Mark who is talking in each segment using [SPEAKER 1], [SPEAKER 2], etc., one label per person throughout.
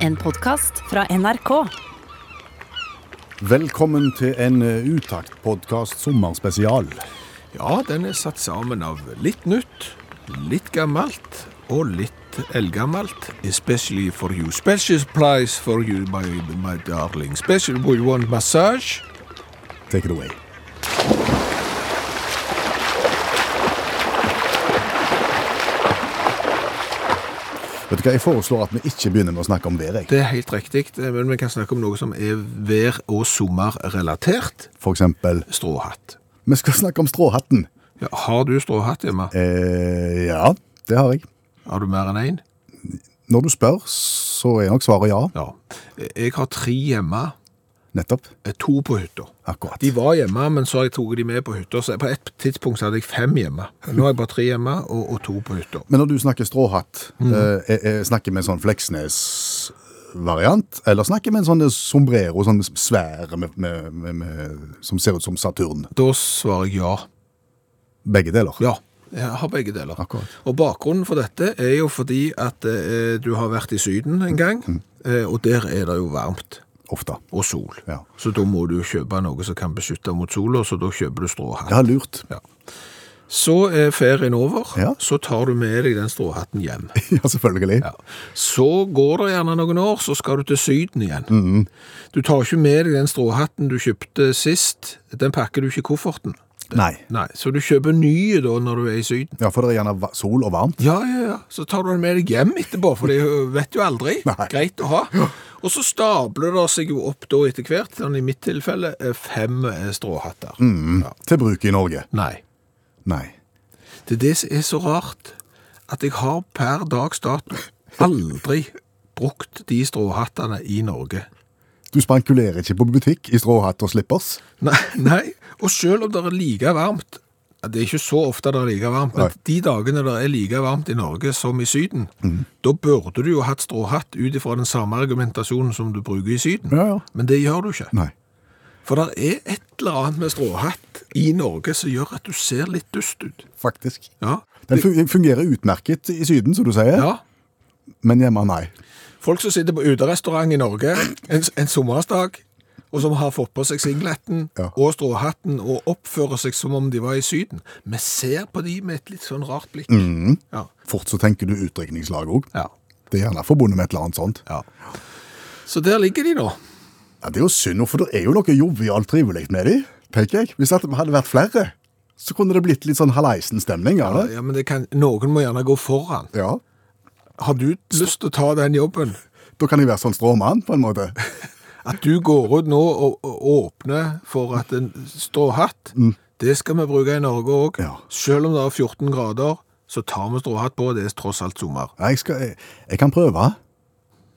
[SPEAKER 1] En podkast fra NRK.
[SPEAKER 2] Velkommen til en Utakt-podkast sommerspesial.
[SPEAKER 3] Ja, den er satt sammen av litt nytt, litt gammelt og litt eldgammelt. Especially for you. Special price for you, my, my darling. Special we want massage.
[SPEAKER 2] Take it away. Vet du hva, Jeg foreslår at vi ikke begynner med å snakke om været. jeg.
[SPEAKER 3] Det er helt riktig, eh, men vi kan snakke om noe som er vær- og sommerrelatert.
[SPEAKER 2] For eksempel,
[SPEAKER 3] Stråhatt.
[SPEAKER 2] vi skal snakke om stråhatten.
[SPEAKER 3] Ja, har du stråhatt hjemme?
[SPEAKER 2] Eh, ja, det har jeg.
[SPEAKER 3] Har du mer enn én?
[SPEAKER 2] Når du spør, så er nok svaret ja.
[SPEAKER 3] Ja. Jeg har tre hjemme. eh,
[SPEAKER 2] Nettopp.
[SPEAKER 3] To på hytta.
[SPEAKER 2] Akkurat.
[SPEAKER 3] De var hjemme, men så har jeg tatt de med på hytta. Så på et tidspunkt så hadde jeg fem hjemme. Nå har jeg bare tre hjemme og, og to på hytta.
[SPEAKER 2] Men når du snakker stråhatt,
[SPEAKER 3] Mhm.
[SPEAKER 2] eh, eh, eh, snakker vi en sånn Fleksnes-variant? Eller snakker vi en sånn sombrero, sånn svær med, med, med, med, som ser ut som Saturn?
[SPEAKER 3] Da svarer jeg ja.
[SPEAKER 2] Begge deler?
[SPEAKER 3] Ja. Jeg har begge deler.
[SPEAKER 2] Akkurat.
[SPEAKER 3] Og bakgrunnen for dette er jo fordi at eh, du har vært i Syden en gang,
[SPEAKER 2] Mm.
[SPEAKER 3] eh, og der er det jo varmt
[SPEAKER 2] Ofte.
[SPEAKER 3] og sol.
[SPEAKER 2] Ja.
[SPEAKER 3] Så da må du kjøpe noe som kan beskytte mot sola, så da kjøper du stråhatt.
[SPEAKER 2] Ja, lurt.
[SPEAKER 3] Så er ferien over,
[SPEAKER 2] Ja.
[SPEAKER 3] så tar du med deg den stråhatten hjem.
[SPEAKER 2] Ja, selvfølgelig.
[SPEAKER 3] Ja. Så går det gjerne noen år, så skal du til syden igjen.
[SPEAKER 2] Mm.
[SPEAKER 3] Du tar ikke med deg den stråhatten du kjøpte sist, den pakker du ikke i kofferten.
[SPEAKER 2] Nei.
[SPEAKER 3] Nei, så du kjøper nye da når du er i syden.
[SPEAKER 2] Ja, for det er gjerne va- sol og varmt.
[SPEAKER 3] Ja, ja, ja. Så tar du den med deg hjem etterpå, for det vet jo aldri.
[SPEAKER 2] Nei.
[SPEAKER 3] Greit å ha. Og så stabler det seg jo opp da etter hvert, sånn i mitt tilfelle, eh, fem eh, stråhatter. Ja.
[SPEAKER 2] Til bruk i Norge.
[SPEAKER 3] Nei.
[SPEAKER 2] Nei.
[SPEAKER 3] Det er det som er så rart, at jeg har per dags dato aldri brukt de stråhattene i Norge.
[SPEAKER 2] Du spankulerer ikke på butikk i stråhatt og slippers.
[SPEAKER 3] Nei, nei. og selv om det er like varmt, ja, det er ikke så ofte det er like varmt, men
[SPEAKER 2] Nei.
[SPEAKER 3] de dagene det er like varmt i Norge som i syden,
[SPEAKER 2] Mhm.
[SPEAKER 3] da burde du jo hatt stråhatt ut ifra den samme argumentasjonen som du bruker i syden.
[SPEAKER 2] Ja, ja.
[SPEAKER 3] Men det gjør du ikke.
[SPEAKER 2] Nei.
[SPEAKER 3] For det er et eller annet med stråhatt i Norge som gjør at du ser litt dust ut.
[SPEAKER 2] Faktisk.
[SPEAKER 3] Ja,
[SPEAKER 2] Den fun- fungerer utmerket i Syden, som du sier,
[SPEAKER 3] ja.
[SPEAKER 2] men hjemme nei.
[SPEAKER 3] Folk som sitter på uterestaurant i Norge en, en sommersdag, og som har fått på seg singleten
[SPEAKER 2] Ja.
[SPEAKER 3] og stråhatten og oppfører seg som om de var i Syden. Vi ser på de med et litt sånn rart blikk.
[SPEAKER 2] Mm.
[SPEAKER 3] Ja.
[SPEAKER 2] Fort så tenker du utdrikningslag òg.
[SPEAKER 3] Ja.
[SPEAKER 2] Det er gjerne forbundet med et eller annet sånt.
[SPEAKER 3] ja. Så der ligger de nå.
[SPEAKER 2] Ja, Det er jo synd, for det er jo noe jovialt trivelig med de, tenker jeg. Hvis at det hadde vært flere, så kunne det blitt litt sånn haleisen-stemning av det.
[SPEAKER 3] Ja, men det kan, Noen må gjerne gå foran.
[SPEAKER 2] Ja,
[SPEAKER 3] Har du lyst til å ta den jobben?
[SPEAKER 2] Da kan jeg være sånn stråmann, på en måte.
[SPEAKER 3] At du går ut nå og, og åpner for at en stråhatt, det skal vi bruke i Norge òg.
[SPEAKER 2] Mm. Ja.
[SPEAKER 3] Selv om det er 14 grader, så tar vi stråhatt på, det er tross alt sommer.
[SPEAKER 2] Nei, Jeg, skal, jeg, jeg kan prøve.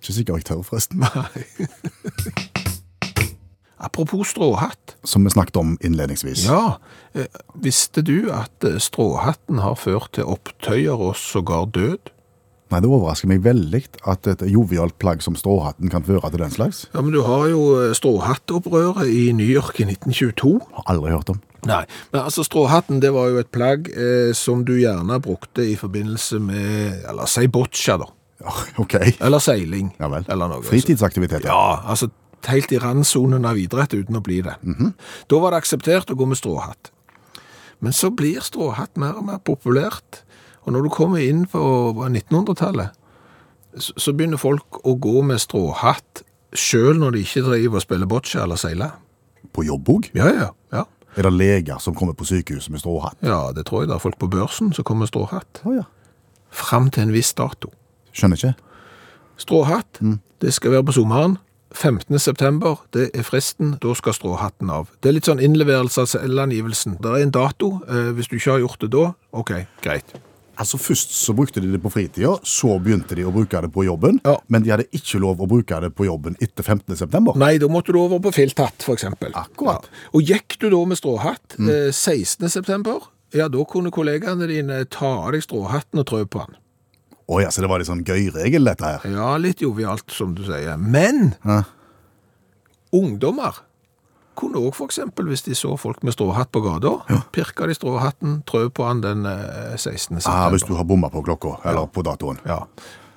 [SPEAKER 2] Ikke sikker jeg tør, forresten.
[SPEAKER 3] Nei. Apropos stråhatt.
[SPEAKER 2] Som vi snakket om innledningsvis.
[SPEAKER 3] Ja, eh, visste du at eh, stråhatten har ført til opptøyer og sågar død?
[SPEAKER 2] Nei, Det overrasker meg veldig at et jovialt plagg som stråhatten kan føre til den slags.
[SPEAKER 3] Ja, men du har jo eh, stråhattopprøret i New York i 1922.
[SPEAKER 2] Har aldri hørt om.
[SPEAKER 3] Nei, men altså stråhatten det var jo et plagg eh, som du gjerne brukte i forbindelse med, eller si boccia da,
[SPEAKER 2] Ja, ok.
[SPEAKER 3] eller seiling,
[SPEAKER 2] Ja vel.
[SPEAKER 3] eller noe.
[SPEAKER 2] Fritidsaktiviteter.
[SPEAKER 3] Ja, altså helt i randsonen av idrett uten å bli det. Da var det akseptert å gå med stråhatt. Men så blir stråhatt mer og mer populært. Og når du kommer inn på 1900-tallet, så, så begynner folk å gå med stråhatt sjøl når de ikke driver og spiller boccia eller seiler.
[SPEAKER 2] På jobb òg?
[SPEAKER 3] Ja, ja, ja.
[SPEAKER 2] Er det leger som kommer på sykehuset med stråhatt?
[SPEAKER 3] Ja, det tror jeg det er folk på børsen som kommer med stråhatt.
[SPEAKER 2] Å ja.
[SPEAKER 3] Fram til en viss dato.
[SPEAKER 2] Skjønner ikke.
[SPEAKER 3] Stråhatt, det skal være på sommeren. 15. september, det er fristen, da skal stråhatten av. Det er litt sånn innleverelse av selvangivelsen. Det er en dato, eh, hvis du ikke har gjort det da, ok, greit.
[SPEAKER 2] Altså Først så brukte de det på fritida, så begynte de å bruke det på jobben.
[SPEAKER 3] Ja.
[SPEAKER 2] Men de hadde ikke lov å bruke det på jobben etter 15. september.
[SPEAKER 3] Nei, da måtte du over på filthatt, for eksempel.
[SPEAKER 2] Akkurat.
[SPEAKER 3] Ja. Og gikk du da med stråhatt eh, 16. september, ja, da kunne kollegaene dine ta av deg stråhatten og trø på den.
[SPEAKER 2] Å ja, så det var litt sånn gøyregel, dette her.
[SPEAKER 3] Ja, litt jovialt, som du sier. Men
[SPEAKER 2] Ja.
[SPEAKER 3] ungdommer kunne òg f.eks., hvis de så folk med stråhatt på gata, pirka de stråhatten, trø på han den eh, 16. september.
[SPEAKER 2] Ah, hvis du har bomma på klokka, eller på datoen.
[SPEAKER 3] Ja.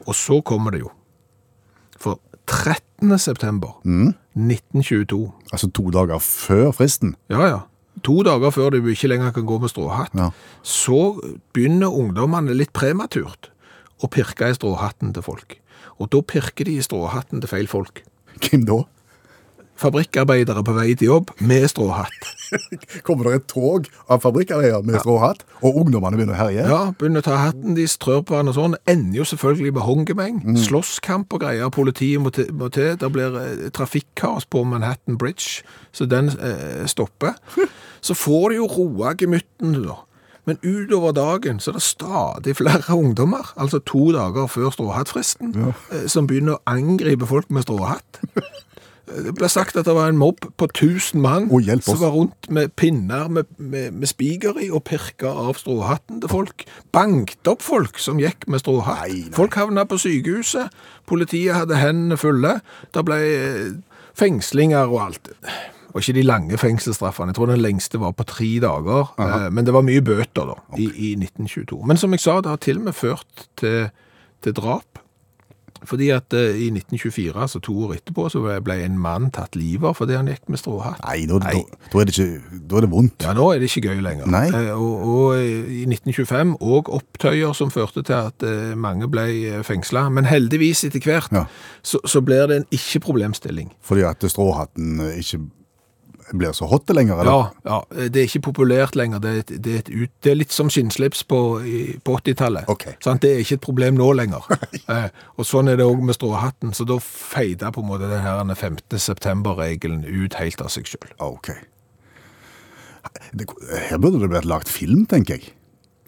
[SPEAKER 3] Og så kommer det jo. For 13. september
[SPEAKER 2] Mm.
[SPEAKER 3] 1922.
[SPEAKER 2] Altså to dager før fristen.
[SPEAKER 3] Ja, ja. To dager før de ikke lenger kan gå med stråhatt,
[SPEAKER 2] Ja.
[SPEAKER 3] så begynner ungdommene litt prematurt å pirke i stråhatten til folk. Og da pirker de i stråhatten til feil folk.
[SPEAKER 2] Hvem da?
[SPEAKER 3] Fabrikkarbeidere på vei til jobb med stråhatt.
[SPEAKER 2] Kommer det et tog av fabrikkarbeidere med stråhatt, og ungdommene begynner å herje?
[SPEAKER 3] Ja, begynner å ta hatten, de strør på hverandre og sånn. Ender jo selvfølgelig med håndgemeng.
[SPEAKER 2] Mm.
[SPEAKER 3] Slåsskamp og greier. Politiet må til. Må til. Det blir eh, trafikkaos på Manhattan Bridge, så den eh, stopper. Så får de jo roa gemytten, da. Men utover dagen så er det stadig flere ungdommer, altså to dager før stråhattfristen, eh, som begynner å angripe folk med stråhatt. Eh, Det ble sagt at det var en mobb på tusen mann
[SPEAKER 2] Å, hjelp oss.
[SPEAKER 3] som var rundt med pinner med, med, med spiger i og pirka av stråhatten til folk. Bankt opp folk som gikk med stråhatt. Folk havna på sykehuset. Politiet hadde hendene fulle. Det ble eh, fengslinger og alt. Det var ikke de lange fengselsstraffene. Jeg tror den lengste var på tre dager. eh, Men det var mye bøter da, i, i 1922. Men som jeg sa, det har til og med ført til, til drap. Fordi at eh, i 1924, altså to år etterpå, så ble- ble en mann tatt livet av fordi han gikk med stråhatt.
[SPEAKER 2] Nei, da, Da, da, er det ikke, da er det vondt.
[SPEAKER 3] Ja, nå er det ikke gøy lenger.
[SPEAKER 2] Nei.
[SPEAKER 3] Eh, og, og eh, i 1925 òg opptøyer som førte til at eh, mange ble fengsla. Men heldigvis, etter hvert,
[SPEAKER 2] Ja.
[SPEAKER 3] så, så blir det en ikke-problemstilling.
[SPEAKER 2] Fordi at stråhatten ikke blir så hot lenger, eller?
[SPEAKER 3] Ja, ja, eh, det er ikke populært lenger. Det er, et- det er, et ut, det er litt som skinnslips på, i- på 80-tallet.
[SPEAKER 2] Ok.
[SPEAKER 3] Sant? Det er ikke et problem nå lenger. eh, og sånn er det òg med stråhatten. Så da feida på en måte den her 15. september-regelen ut helt av seg sjøl.
[SPEAKER 2] Ah, Ok. Det, her burde det vært lagt film, tenker jeg.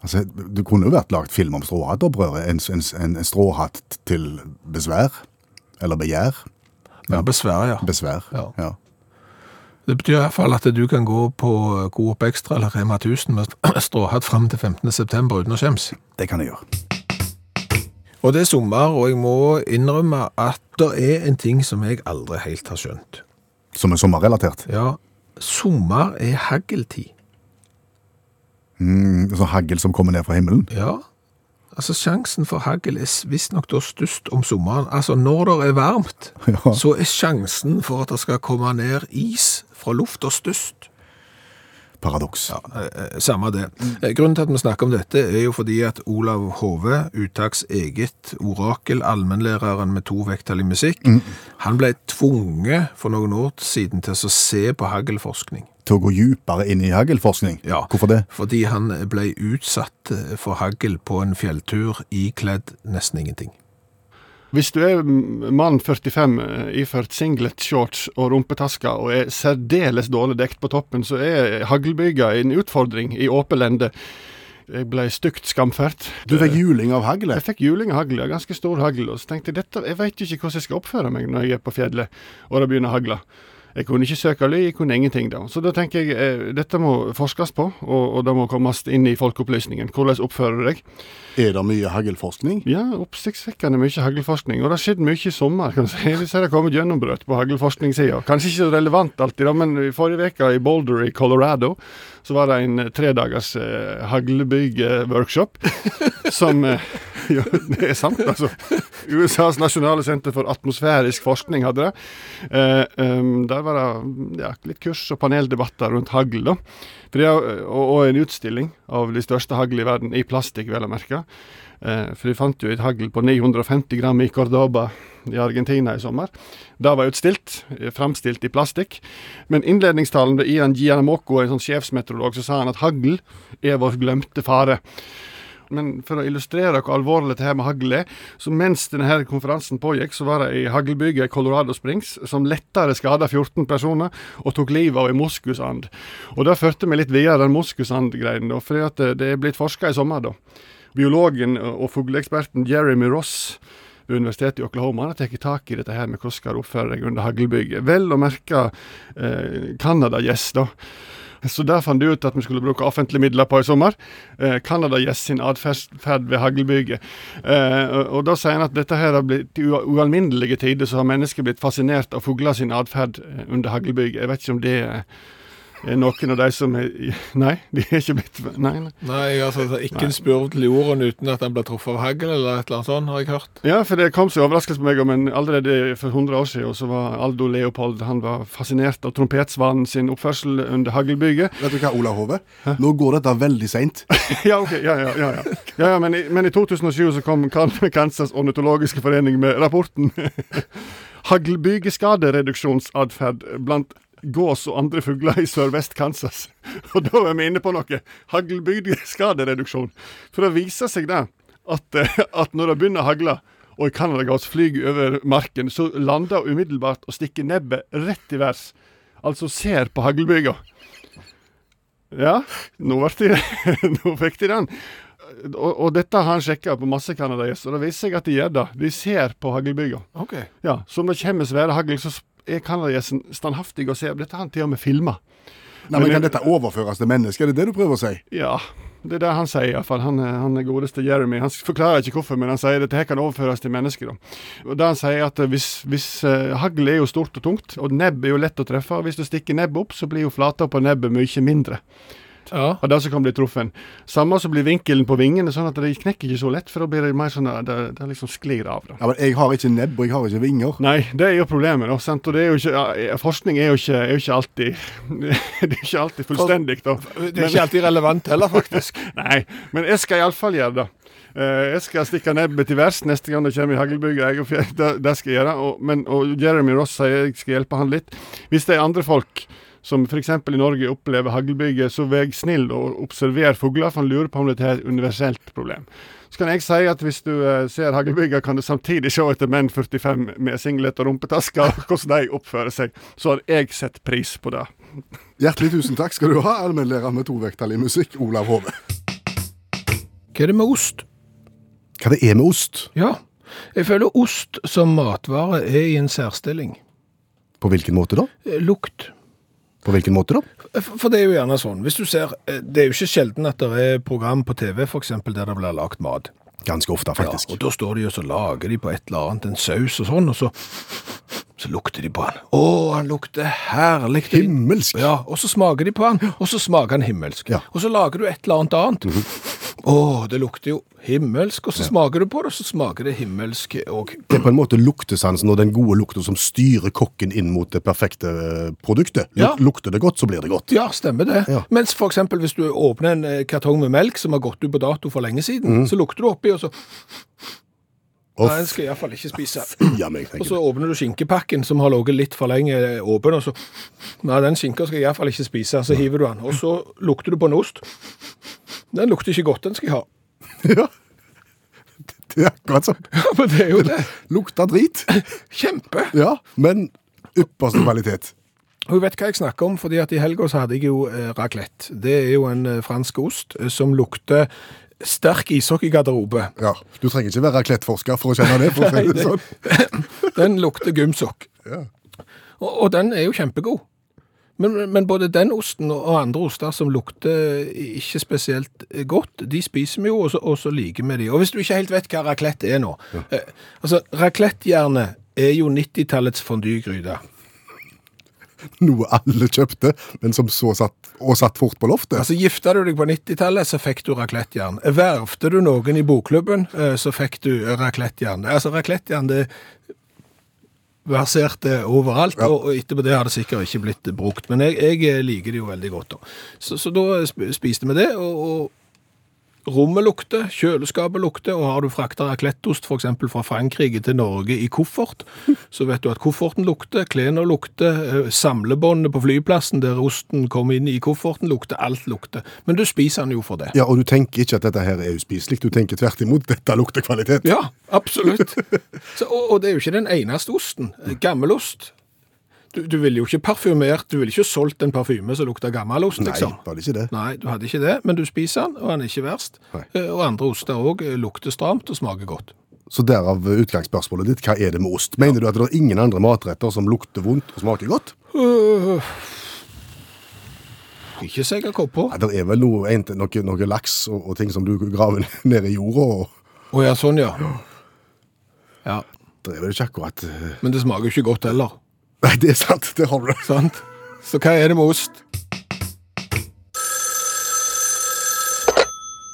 [SPEAKER 2] Altså, det kunne jo vært lagt film om stråhattopprøret. En, en, en, en stråhatt til besvær. Eller begjær.
[SPEAKER 3] Ja, besvær, ja.
[SPEAKER 2] Besvær.
[SPEAKER 3] Ja. Det betyr i hvert fall at du kan gå på eh, Coop Extra eller Rema 1000 med stråhatt frem til 15. september uten å skjems.
[SPEAKER 2] Det kan jeg gjøre.
[SPEAKER 3] Og det er sommer, og jeg må innrømme at det er en ting som jeg aldri helt har skjønt.
[SPEAKER 2] Som er sommerrelatert.
[SPEAKER 3] Ja, sommer er hageltid.
[SPEAKER 2] Mm, sånn hagl som kommer ned fra himmelen.
[SPEAKER 3] Ja, altså sjansen for hagel er visstnok da størst om sommeren. Altså når det er varmt,
[SPEAKER 2] Ja.
[SPEAKER 3] så er sjansen for at det skal komme ned is fra lufta størst.
[SPEAKER 2] Paradoks.
[SPEAKER 3] Ja, eh, eh, samme det. Eh, Grunnen til at vi snakker om dette er jo fordi at Olav Hove, uttaks eget orakel, allmennlæreren med to vekttall i musikk, han ble tvunget for noen år siden til å se på haglforskning.
[SPEAKER 2] Til å gå dypere inn i haglforskning.
[SPEAKER 3] Ja.
[SPEAKER 2] Hvorfor det?
[SPEAKER 3] Fordi han ble utsatt eh, for hagl på en fjelltur ikledd nesten ingenting.
[SPEAKER 4] Hvis du er mm, mann 45 eh, iført singlet, shorts og rumpetasker og er særdeles dårlig dekt på toppen, så er haglbyga en utfordring i åpen lende. Jeg ble stygt skamfært.
[SPEAKER 2] Du fikk juling av haglet.
[SPEAKER 4] Jeg fikk juling av hagl, ja, ganske stor hagl, og så tenkte jeg dette, jeg veit ikke hvordan jeg skal oppføre meg når jeg er på fjellet og det begynner å hagle. Jeg kunne ikke søke ly, jeg kunne ingenting da. Så da tenker jeg eh, dette må forskes på, og, og det må kommes inn i folkeopplysningen. Hvordan oppfører du deg?
[SPEAKER 2] Er det mye haglforskning?
[SPEAKER 4] Ja, oppsiktsvekkende mye haglforskning. Og det har skjedd mye i sommer. kan du si. Jeg vil si det har kommet gjennombrudd på haglforskningssida. Kanskje ikke så relevant alltid, da, men i forrige uke i Boulder i Colorado så var det en eh, tredagers eh, haglbyg-workshop. som eh, Jo, det er sant, altså. USAs nasjonale senter for atmosfærisk forskning hadde det. Eh, em, der var det ja, litt kurs og paneldebatter rundt hagl, da. For det, er- eh, og, og en utstilling av de største haglene i verden, i plastikk, vel å merke. Eh, For de fant jo et hagl på 950 gram i Cordoba i Argentina i sommer. Det var utstilt, eh, framstilt i plastikk. Men innledningstalen til Ian Gianamoko, en sånn sjefsmeteorolog, så sa han at hagl er vår glemte fare. Men for å illustrere hvor alvorlig dette her med hagl er, så mens denne her konferansen pågikk, så var det ei haglbyge i Colorado Springs som lettere skada 14 personer og tok livet av ei moskusand. Og det førte meg litt videre den moskusandgreien, da, for det er blitt forska i sommer, da. Biologen og fugleeksperten Jeremy Ross ved Universitetet i Oklahoma han har tatt tak i dette her med hvordan skal du oppføre deg under haglbygget. Vel å merke eh, Canada-gjess, da. Så der fant de ut at vi skulle bruke offentlige midler på i sommer. Eh, Canada-gjess sin atferd ved haglbygget. Eh, og- og da sier han at dette her har blitt i ua- ualminnelige tider så har mennesker blitt fascinert av fugler sin atferd eh, under haglbygget. Jeg vet ikke om det er Er noen av de som er Nei, de er ikke blitt Nei, nei.
[SPEAKER 3] Nei, altså det er ikke en spurv til jorden uten at den ble truffet av hagl eller et eller annet sånt, har jeg hørt.
[SPEAKER 4] Ja, for det kom som en overraskelse på meg, men allerede for 100 år siden så var Aldo Leopold han var fascinert av trompetsvanen sin oppførsel under haglbyget.
[SPEAKER 2] Vet du hva, Ola Hove? Nå går dette veldig seint.
[SPEAKER 4] ja, ok, ja, ja, ja, ja. ja, ja men, i, men i 2007 så kom Kan- Kansas ornitologiske forening med rapporten Haglbygeskadereduksjonsatferd blant gås og andre fugler i sørvest Kansas. Og da er vi inne på noe. Haglbygeskadereduksjon. For det viser seg det at, eh, at når det begynner å hagle, og en canadagås flyr over marken, så lander hun umiddelbart og stikker nebbet rett i værs. Altså ser på haglbyga. Ja, nå, ble de, nå fikk de den. Og, og dette har han sjekka på masse canadagjester, og det viser seg at de gjør det. De ser på haglbyga.
[SPEAKER 3] Ok.
[SPEAKER 4] Ja, så om det kommer svære hagl, så er canadagjesten standhaftig og ser. Dette har han til og med filma.
[SPEAKER 2] Nei, men Kan dette overføres til mennesker? Er det det du prøver å si?
[SPEAKER 4] Ja, det er det han sier iallfall. Han, eh, han er godeste Jeremy. Han forklarer ikke hvorfor, men han sier dette her kan overføres til mennesker. Da. Og det han sier at eh, hvis, hvis eh, hagl er jo stort og tungt, og nebb er jo lett å treffe, og hvis du stikker nebbet opp, så blir jo flata på nebbet mye mindre.
[SPEAKER 3] Ja.
[SPEAKER 4] Og det som kan bli truffen. Samme så blir vinkelen på vingene sånn at de knekker ikke så lett, for da blir det mer sånn at det, det liksom sklir av. Da.
[SPEAKER 2] Ja, men Jeg har ikke nebb, og jeg har ikke vinger.
[SPEAKER 4] Nei, det er jo problemet, da. Sant? Og det er jo ikke, ja, forskning er jo ikke, er jo ikke alltid Det er ikke alltid fullstendig, da.
[SPEAKER 3] Det er ikke alltid relevant heller, faktisk.
[SPEAKER 4] Nei, men jeg skal iallfall gjøre det. Eh, jeg skal stikke nebbet til værs neste gang det kommer i haglbyga. jeg og Fjell. Det, det skal jeg gjøre. Og, men, og Jeremy Ross sier jeg skal hjelpe han litt. Hvis det er andre folk som f.eks. i Norge opplever haglbyge, så vær snill og observer fugler, for han lurer på om dette er et universelt problem. Så kan jeg si at hvis du eh, ser haglbyger, kan du samtidig se etter menn 45 med singlet og rumpetasker, og hvordan de oppfører seg. Så har jeg sett pris på det.
[SPEAKER 2] Hjertelig tusen takk skal du ha, allmennlærer med tovekttall i musikk, Olav Hove.
[SPEAKER 3] Hva er det med ost?
[SPEAKER 2] Hva det er med ost?
[SPEAKER 3] Ja, jeg føler ost som matvare er i en særstilling.
[SPEAKER 2] På hvilken måte da?
[SPEAKER 3] Eh, Lukt. Eh,
[SPEAKER 2] På hvilken måte da?
[SPEAKER 3] F- For det er jo gjerne sånn, hvis du ser, eh, det er jo ikke sjelden at det er program på TV for eksempel der det blir lagt mat.
[SPEAKER 2] Ganske ofte, faktisk.
[SPEAKER 3] Ja, og da står de og så lager de på et eller annet, en saus og sånn, og så, så lukter de på han. Å, han lukter herlig.
[SPEAKER 2] Himmelsk.
[SPEAKER 3] Ja, og så smaker de på han, og så smaker han himmelsk.
[SPEAKER 2] Ja. Mhm.
[SPEAKER 3] Og så lager du et eller annet annet. Å, det lukter jo himmelsk, og så smaker du på det, og så smaker det himmelsk og
[SPEAKER 2] Det er på en måte luktesansen og den gode lukten som styrer kokken inn mot det perfekte eh, produktet. Luk
[SPEAKER 3] Ja.
[SPEAKER 2] Lukter det godt, så blir det godt.
[SPEAKER 3] Ja, stemmer det.
[SPEAKER 2] Ja.
[SPEAKER 3] Mens for eksempel hvis du åpner en eh, kartong med melk som har gått ut på dato for lenge siden, så lukter du oppi, og så
[SPEAKER 2] Og
[SPEAKER 3] Nei, den skal jeg iallfall ikke spise.
[SPEAKER 2] fia meg,
[SPEAKER 3] Og
[SPEAKER 2] tenker
[SPEAKER 3] så
[SPEAKER 2] jeg.
[SPEAKER 3] åpner du skinkepakken som har ligget litt for lenge eh, åpen, og så Nei, den skinka skal jeg iallfall ikke spise. Så hiver du den. Og så lukter du på en ost. Den lukter ikke godt, den skal jeg ha.
[SPEAKER 2] Ja. Det er akkurat sånn.
[SPEAKER 3] Ja, Men det er jo det.
[SPEAKER 2] Lukter drit.
[SPEAKER 3] Kjempe.
[SPEAKER 2] Ja, men ypperste kvalitet.
[SPEAKER 3] Og jeg vet hva jeg snakker om, fordi at i helga så hadde jeg jo eh, raclette. Det er jo en eh, fransk ost eh, som lukter sterk ishockeygarderobe.
[SPEAKER 2] Ja, Du trenger ikke være klettforsker for å kjenne det. for å si det sånn.
[SPEAKER 3] Den lukter gymsokk.
[SPEAKER 2] Ja.
[SPEAKER 3] Og, og den er jo kjempegod. Men, men både den osten og og andre oster som lukter ikke spesielt godt, de spiser vi jo, og så, og så liker vi de. Og hvis du ikke helt vet hva raclette er nå eh, Altså, raclettehjerne er jo 90-tallets fondygryte.
[SPEAKER 2] Noe alle kjøpte, men som så satt, og satt fort på loftet.
[SPEAKER 3] Altså, gifta du deg på 90-tallet, så fikk du raclettejern. Vervte du noen i bokklubben, eh, så fikk du raclettejern. Altså, raclettejern, det verserte overalt, og og etterpå det har det sikkert ikke blitt brukt. Men jeg, jeg liker det jo veldig godt, da. Så, så da sp- spiste vi det, og, og rommet lukter, kjøleskapet lukter, og har du frakta raclettost f.eks. fra Frankrike til Norge i koffert, så vet du at kofferten lukter, klærne lukter, eh, samlebåndet på flyplassen der osten kom inn i kofferten lukter, alt lukter. Men du spiser den jo for det.
[SPEAKER 2] Ja, Og du tenker ikke at dette her er uspiselig, du tenker tvert imot dette lukter kvalitet.
[SPEAKER 3] Ja, absolutt. Så, og, og det er jo ikke den eneste osten. Gammelost. Du, du ville jo ikke parfymert, du ville ikke solgt en parfyme som lukta gammelost,
[SPEAKER 2] Nei,
[SPEAKER 3] liksom.
[SPEAKER 2] var det ikke det?
[SPEAKER 3] Nei, du hadde ikke det, men du spiser den, og den er ikke verst.
[SPEAKER 2] Nei.
[SPEAKER 3] Eh, Og andre oster òg lukter stramt og smaker godt.
[SPEAKER 2] Så derav utgangsspørsmålet ditt, hva er det med ost? Mener du at det er ingen andre matretter som lukter vondt og smaker godt?
[SPEAKER 3] Øh. Ikke så jeg har kommet på.
[SPEAKER 2] Nei, det er vel noe, en- noe, noe laks og, og ting som du graver ned i jorda, og
[SPEAKER 3] Å ja, sånn ja. Ja,
[SPEAKER 2] det er vel ikke akkurat eh,
[SPEAKER 3] Men det smaker jo ikke godt heller,
[SPEAKER 2] Nei, det er sant, det har du.
[SPEAKER 3] sant? Så hva er det med ost?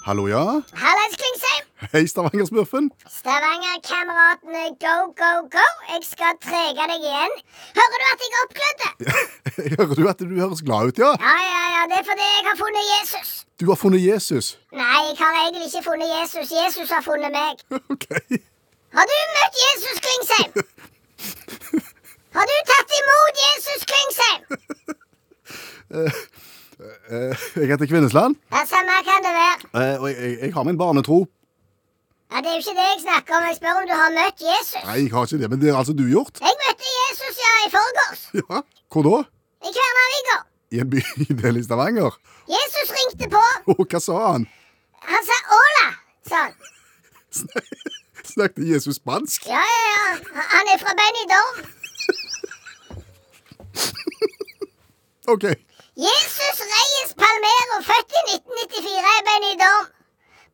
[SPEAKER 2] Hallo, ja?
[SPEAKER 5] Hallais, Klingsheim!
[SPEAKER 2] Hei, Stavanger-smurfen.
[SPEAKER 5] Stavanger-kameratene, go, go, go! Jeg skal trege deg igjen. Hører du at jeg er oppglødd?
[SPEAKER 2] Jeg Hører du at du høres glad ut, ja?
[SPEAKER 5] Ja, ja, ja, det er fordi jeg har funnet Jesus.
[SPEAKER 2] Du har funnet Jesus.
[SPEAKER 5] Nei, jeg har egentlig ikke funnet Jesus. Jesus har funnet meg.
[SPEAKER 2] OK.
[SPEAKER 5] Har du møtt Jesus, Klingsheim? Har du tatt imot Jesus, Klingsheim?
[SPEAKER 2] Jeg heter Kvinnesland,
[SPEAKER 5] Ja, samme kan det være.
[SPEAKER 2] eh, og jeg, jeg, jeg har min barnetro.
[SPEAKER 5] Ja, Det er jo ikke det jeg snakker om. Jeg spør om du har møtt Jesus.
[SPEAKER 2] Nei, jeg har ikke det, men det har altså du gjort.
[SPEAKER 5] Jeg møtte Jesus, ja, i forgårs.
[SPEAKER 2] Ja. Hvor da?
[SPEAKER 5] I Kværnervika.
[SPEAKER 2] I en bydel i Stavanger.
[SPEAKER 5] Jesus ringte på.
[SPEAKER 2] Og hva sa han?
[SPEAKER 5] Han sa 'Åla', sa han.
[SPEAKER 2] Snakket Jesus spansk?
[SPEAKER 5] Ja, ja, ja. Han er fra Benidorm.
[SPEAKER 2] OK.
[SPEAKER 5] Jesus Reyes Palmero, født i 1994 i Benidorm.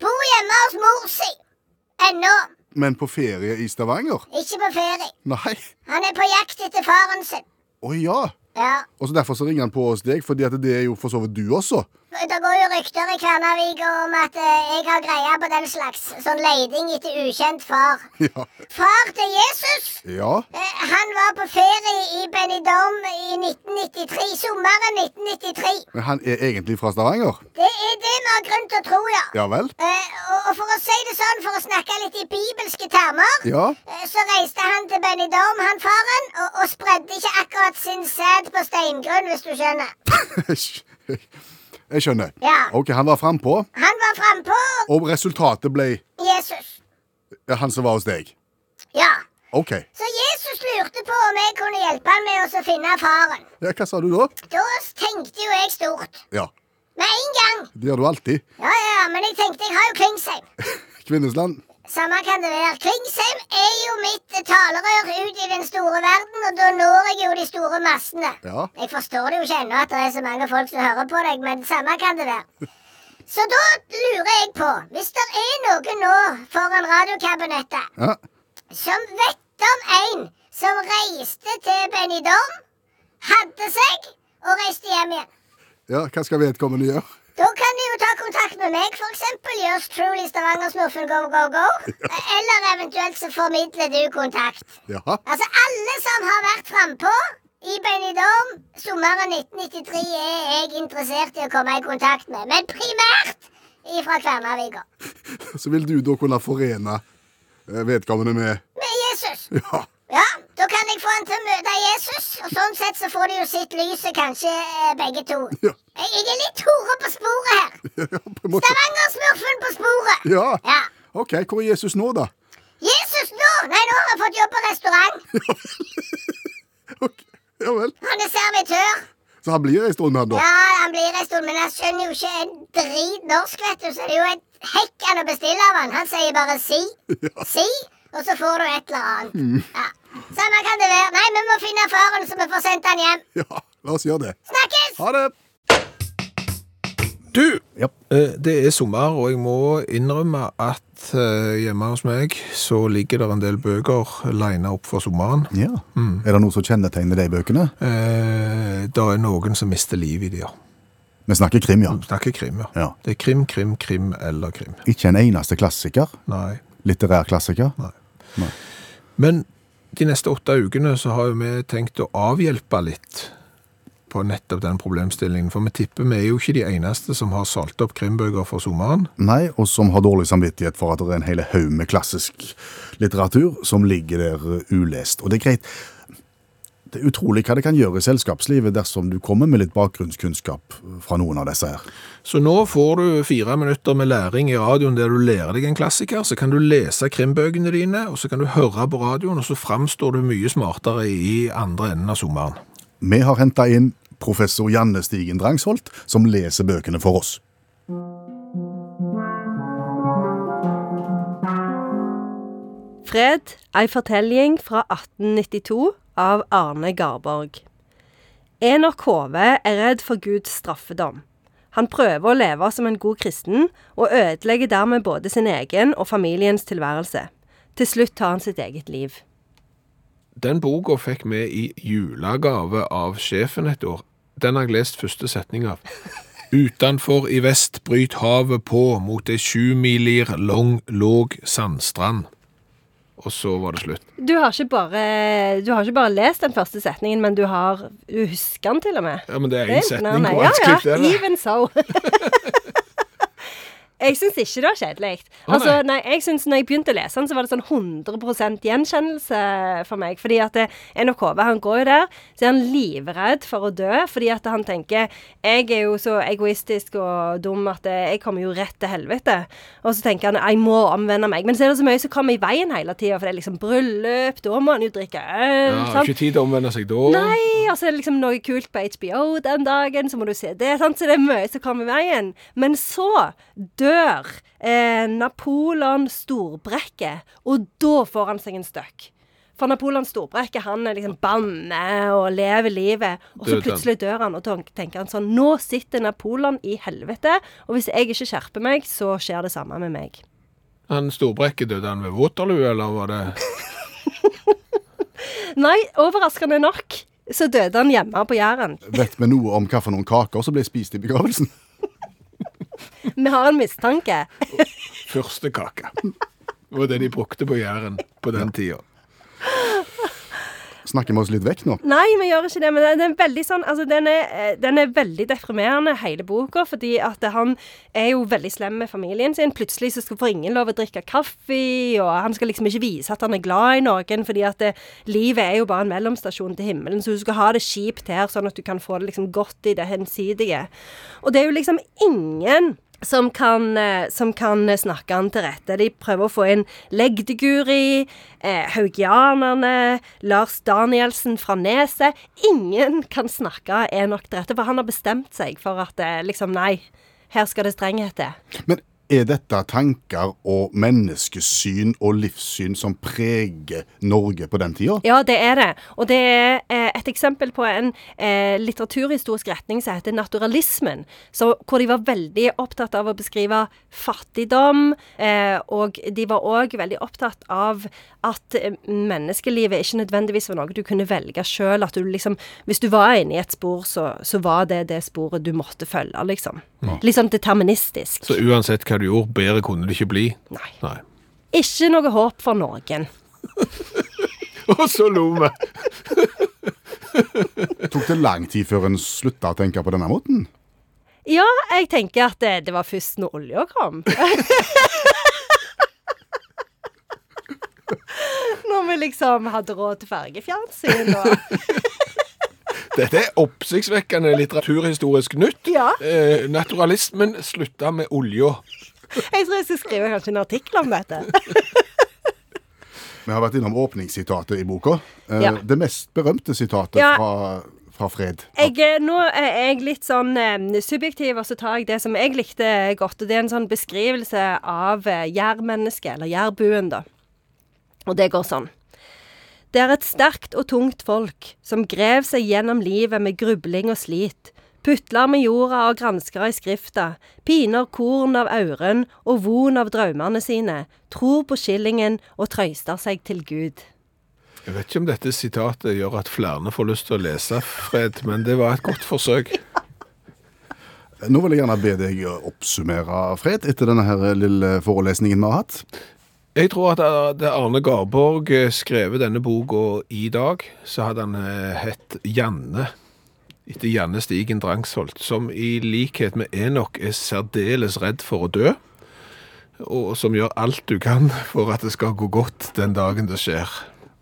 [SPEAKER 5] Bor hjemme hos mor si. Ennå.
[SPEAKER 2] Men på ferie i Stavanger?
[SPEAKER 5] Ikke på ferie.
[SPEAKER 2] Nei.
[SPEAKER 5] Han er på jakt etter faren sin.
[SPEAKER 2] Å ja.
[SPEAKER 5] Ja.
[SPEAKER 2] Og så Derfor så ringer han på hos deg, fordi at det er jo for så vidt du også.
[SPEAKER 5] Det går jo rykter i Kværnervika om at eh, jeg har greie på den slags sånn leiding etter ukjent far.
[SPEAKER 2] Ja.
[SPEAKER 5] Far til Jesus
[SPEAKER 2] ja.
[SPEAKER 5] Eh, Han var på ferie i Benidorm i 1993, sommeren 1993.
[SPEAKER 2] Men han er egentlig fra Stavanger?
[SPEAKER 5] Det er det vi har grunn til å tro, ja.
[SPEAKER 2] Ja vel?
[SPEAKER 5] Eh, og, og for å si det sånn, for å snakke litt i bibelske termer,
[SPEAKER 2] Ja.
[SPEAKER 5] eh, så reiste han til Benidorm, han faren, og, og spredde ikke akkurat sin sæd på steingrunn, hvis du skjønner.
[SPEAKER 2] Jeg skjønner.
[SPEAKER 5] Ja.
[SPEAKER 2] OK, han var frampå,
[SPEAKER 5] Han var frampå
[SPEAKER 2] og resultatet ble
[SPEAKER 5] Jesus.
[SPEAKER 2] han som var hos deg.
[SPEAKER 5] Ja.
[SPEAKER 2] OK.
[SPEAKER 5] Så Jesus lurte på om jeg kunne hjelpe han med å så finne faren.
[SPEAKER 2] Ja, hva sa du da?
[SPEAKER 5] Da tenkte jo jeg stort.
[SPEAKER 2] Ja.
[SPEAKER 5] Med en gang.
[SPEAKER 2] Det gjør du alltid.
[SPEAKER 5] Ja, ja, ja, men jeg tenkte jeg har jo Klingsheim.
[SPEAKER 2] Kvinnesland.
[SPEAKER 5] Samme kan det være. Klingsheim er jo mitt talerør ut i den store verden, og da når jeg jo de store massene.
[SPEAKER 2] Ja.
[SPEAKER 5] Jeg forstår det jo ikke ennå at det er så mange folk som hører på deg, men samme kan det være. Så da lurer jeg på, hvis det er noen nå foran radiokabinettet
[SPEAKER 2] Ja.
[SPEAKER 5] som vet om en som reiste til Benidorm, hadde seg og reiste hjem igjen.
[SPEAKER 2] ja, hva skal vedkommende gjøre?
[SPEAKER 5] Da kan de jo ta kontakt med meg, f.eks. Yours truly Stavanger-smurfen go, go, go. Eller eventuelt så formidler du kontakt.
[SPEAKER 2] Ja.
[SPEAKER 5] Altså, alle som har vært frampå i Benidorm sommeren 1993, er jeg interessert i å komme i kontakt med. Men primært ifra Kværnervika.
[SPEAKER 2] Så vil du da kunne forene eh, vedkommende med
[SPEAKER 5] Med Jesus.
[SPEAKER 2] Ja.
[SPEAKER 5] Ja, da kan jeg få han til å møte Jesus, og sånn sett så får de jo sitt lyset kanskje eh, begge to.
[SPEAKER 2] Ja.
[SPEAKER 5] Jeg, jeg er litt Tore på sporet her.
[SPEAKER 2] ja på en måte.
[SPEAKER 5] Stavanger-smurfen på sporet.
[SPEAKER 2] Ja.
[SPEAKER 5] ja.
[SPEAKER 2] OK, hvor er Jesus nå, da?
[SPEAKER 5] Jesus nå! Nei, nå har han fått jobb på restaurant.
[SPEAKER 2] Ok, Ja vel.
[SPEAKER 5] Han er servitør.
[SPEAKER 2] Så han blir ei stund, han, da?
[SPEAKER 5] Ja, han blir en stund, men han skjønner jo ikke en drit norsk, vet du, så det er jo et hekkende å bestille av han. Han sier bare si, si, og så får du et eller annet. Ja. Samme kan det være. Nei, vi må finne faren, så vi får sendt han hjem.
[SPEAKER 2] Ja. La oss gjøre det.
[SPEAKER 5] Snakkes!
[SPEAKER 2] Ha det.
[SPEAKER 3] Du!
[SPEAKER 2] Ja.
[SPEAKER 3] Eh, Det er sommer, og jeg må innrømme at eh, hjemme hos meg så ligger det en del bøker lina opp for sommeren.
[SPEAKER 2] Ja. Er det noe som kjennetegner de bøkene?
[SPEAKER 3] Eh, Det er noen som mister livet i de, ja.
[SPEAKER 2] Vi snakker krim, ja.
[SPEAKER 3] Vi Snakker krim, ja.
[SPEAKER 2] Ja.
[SPEAKER 3] Det er krim, krim, krim eller krim.
[SPEAKER 2] Ikke en eneste klassiker.
[SPEAKER 3] Nei.
[SPEAKER 2] Litterær klassiker.
[SPEAKER 3] Men de neste åtte ukene så har jo vi tenkt å avhjelpe litt på nettopp den problemstillingen, for vi tipper vi er jo ikke de eneste som har salt opp krimbøker for sommeren.
[SPEAKER 2] Nei, og som har dårlig samvittighet for at det er en hel haug med klassisk litteratur som ligger der eh, ulest. Og det er greit. Det er utrolig hva det kan gjøre i selskapslivet dersom du kommer med litt bakgrunnskunnskap fra noen av disse her.
[SPEAKER 3] Så nå får du fire minutter med læring i radioen der du lærer deg en klassiker, så kan du lese krimbøkene dine, og så kan du høre på radioen, og så framstår du mye smartere i andre enden av sommeren.
[SPEAKER 2] Vi har henta inn professor Janne Stigen Drangsholt, som leser bøkene for oss.
[SPEAKER 6] Fred, ei fortelling fra 1892 av Arne Garborg. Enok Kove er redd for Guds straffedom. Han prøver å leve som en god kristen, og ødelegger dermed både sin egen og familiens tilværelse. Til slutt tar han sitt eget liv.
[SPEAKER 3] Den boka fikk vi i julegave av sjefen et år. Den har jeg lest første setning av. Utanfor i vest bryt havet på mot ei sjumilir lang, låg sandstrand. Og så var det slutt.
[SPEAKER 6] Du har, ikke bare, du har ikke bare lest den første setningen, men du, har, du husker den til og med.
[SPEAKER 3] Ja, men det er
[SPEAKER 6] Det
[SPEAKER 3] én
[SPEAKER 6] er
[SPEAKER 3] setning.
[SPEAKER 6] imponerende.
[SPEAKER 3] Hvor vanskelig
[SPEAKER 6] ja,
[SPEAKER 3] er
[SPEAKER 6] ja.
[SPEAKER 3] det?
[SPEAKER 6] Even so. Jeg syns ikke det var kjedelig.
[SPEAKER 3] Å,
[SPEAKER 6] Altså,
[SPEAKER 3] nei.
[SPEAKER 6] nei, jeg synes når jeg begynte å lese den, så var det sånn 100 gjenkjennelse for meg. Fordi at eh, NHKV han går jo der, så er han livredd for å dø. Fordi at han tenker Jeg er jo så egoistisk og dum at eh, jeg kommer jo rett til helvete. Og så tenker han jeg må omvende meg. Men så er det så mye som kommer i veien hele tida. For det er liksom bryllup, da må han jo drikke øl.
[SPEAKER 3] Ja,
[SPEAKER 6] sant?
[SPEAKER 3] ikke tid til å omvende seg da.
[SPEAKER 6] Nei, altså det er liksom noe kult på HBO den dagen, så må du se det. Sant? Så det er mye som kommer i veien. Men så dør eh, Napoleon Storbrekke, og da får han seg en støkk. For Napoleon Storbrekke han er liksom banne og lever livet, og så
[SPEAKER 3] Døden.
[SPEAKER 6] plutselig dør han. Og da tenker han sånn Nå sitter Napoleon i helvete, og hvis jeg ikke skjerper meg, så skjer det samme med meg.
[SPEAKER 3] Han Storbrekke, døde han ved Waterloo, eller var det
[SPEAKER 6] Nei, overraskende nok så døde han hjemme på Jæren.
[SPEAKER 2] Vet vi noe om hva for noen kaker som ble spist i begravelsen?
[SPEAKER 6] Vi har en mistanke.
[SPEAKER 3] første kake? Det var det de brukte på Jæren på den tida.
[SPEAKER 2] Snakker vi oss litt vekk nå?
[SPEAKER 6] Nei, vi gjør ikke det. Men den er veldig sånn altså, den, er, eh, den er veldig deprimerende, hele boka. Fordi at han er jo veldig slem med familien sin. Plutselig så skal får ingen lov å drikke kaffe, og han skal liksom ikke vise at han er glad i noen. Fordi at eh, livet er jo bare en mellomstasjon til himmelen, så du skal ha det kjipt her, sånn at du kan få det liksom godt i det hensidige. Og det er jo liksom ingen som kan, eh, som kan snakke han til rette. De prøver å få inn Legdeguri, eh, Haugianerne, Lars Danielsen fra Neset. Ingen kan snakke Enok til rette, for han har bestemt seg for at eh, liksom, nei, her skal det strenghet til.
[SPEAKER 2] Men er dette tanker og menneskesyn og livssyn som preger Norge på den tida?
[SPEAKER 6] Ja, det er det. Og det er eh, et eksempel på en eh, litteraturhistorisk retning som heter naturalismen. Så, hvor de var veldig opptatt av å beskrive fattigdom, eh, og de var òg veldig opptatt av at eh, menneskelivet ikke nødvendigvis var noe du kunne velge sjøl. At du liksom Hvis du var inne i et spor, så, så var det det sporet du måtte følge, liksom. Litt sånn deterministisk.
[SPEAKER 3] Så uansett hva du gjorde, bedre kunne det ikke bli.
[SPEAKER 6] Nei.
[SPEAKER 3] Nei.
[SPEAKER 6] Ikke noe håp for noen.
[SPEAKER 3] Og så lo vi.
[SPEAKER 2] Tok det lang tid før en slutta å tenke på denne måten?
[SPEAKER 6] Ja, jeg tenker at det, det var først når olja kom. når vi liksom hadde råd til fargefjernsyn og
[SPEAKER 3] Dette er oppsiktsvekkende litteraturhistorisk nytt.
[SPEAKER 6] Ja.
[SPEAKER 3] Eh, naturalismen slutta med olja.
[SPEAKER 6] Jeg tror jeg skal skrive kanskje en artikkel om dette.
[SPEAKER 2] Vi har vært innom åpningssitatet i boka. Eh,
[SPEAKER 6] Ja.
[SPEAKER 2] Det mest berømte sitatet
[SPEAKER 6] Ja.
[SPEAKER 2] fra, fra Fred.
[SPEAKER 6] Jeg, eh, nå er jeg litt sånn eh, subjektiv, og så tar jeg det som jeg likte godt. Og det er en sånn beskrivelse av eh, jærmennesket, eller jærbuen, da. Og det går sånn. Det er et sterkt og tungt folk som grev seg gjennom livet med grubling og slit. Putler med jorda og gransker i skrifta, piner korn av auren og von av drømmene sine, tror på skillingen og trøyster seg til Gud.
[SPEAKER 3] Jeg vet ikke om dette sitatet gjør at flere får lyst til å lese, Fred, men det var et godt forsøk.
[SPEAKER 2] Nå vil jeg gjerne be deg å oppsummere, Fred, etter denne her lille forelesningen vi har hatt.
[SPEAKER 3] Jeg tror at hadde Arne Garborg eh, skrevet denne boka i dag, så hadde han eh, hett Janne. Etter Janne Stigen Drangsholt, som i likhet med Enok er særdeles redd for å dø. Og som gjør alt du kan for at det skal gå godt den dagen det skjer.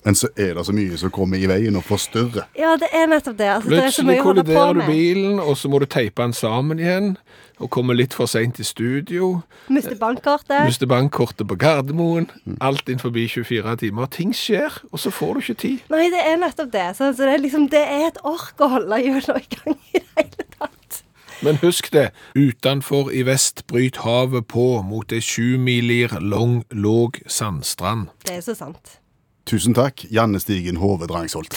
[SPEAKER 2] Men så er det så mye som kommer i veien og forstyrrer.
[SPEAKER 6] Ja, det er nettopp det. Altså, det er så
[SPEAKER 3] Plutselig
[SPEAKER 6] mye å holde på
[SPEAKER 3] kolliderer du
[SPEAKER 6] med.
[SPEAKER 3] bilen, og så må du teipe den sammen igjen. Og kommer litt for seint i studio.
[SPEAKER 6] Mister bankkortet.
[SPEAKER 3] Mister bankkortet på Gardermoen. Alt innenfor 24 timer. Ting skjer, og så får du ikke tid.
[SPEAKER 6] Nei, det er nettopp det. Så, så det, er liksom, det er et ork å holde hjulene i gang i det hele tatt.
[SPEAKER 3] Men husk det, utenfor i vest bryt havet på mot ei sjumilir lang, låg sandstrand.
[SPEAKER 6] Det er så sant.
[SPEAKER 2] Tusen takk, Janne Stigen Hove Drangsholt.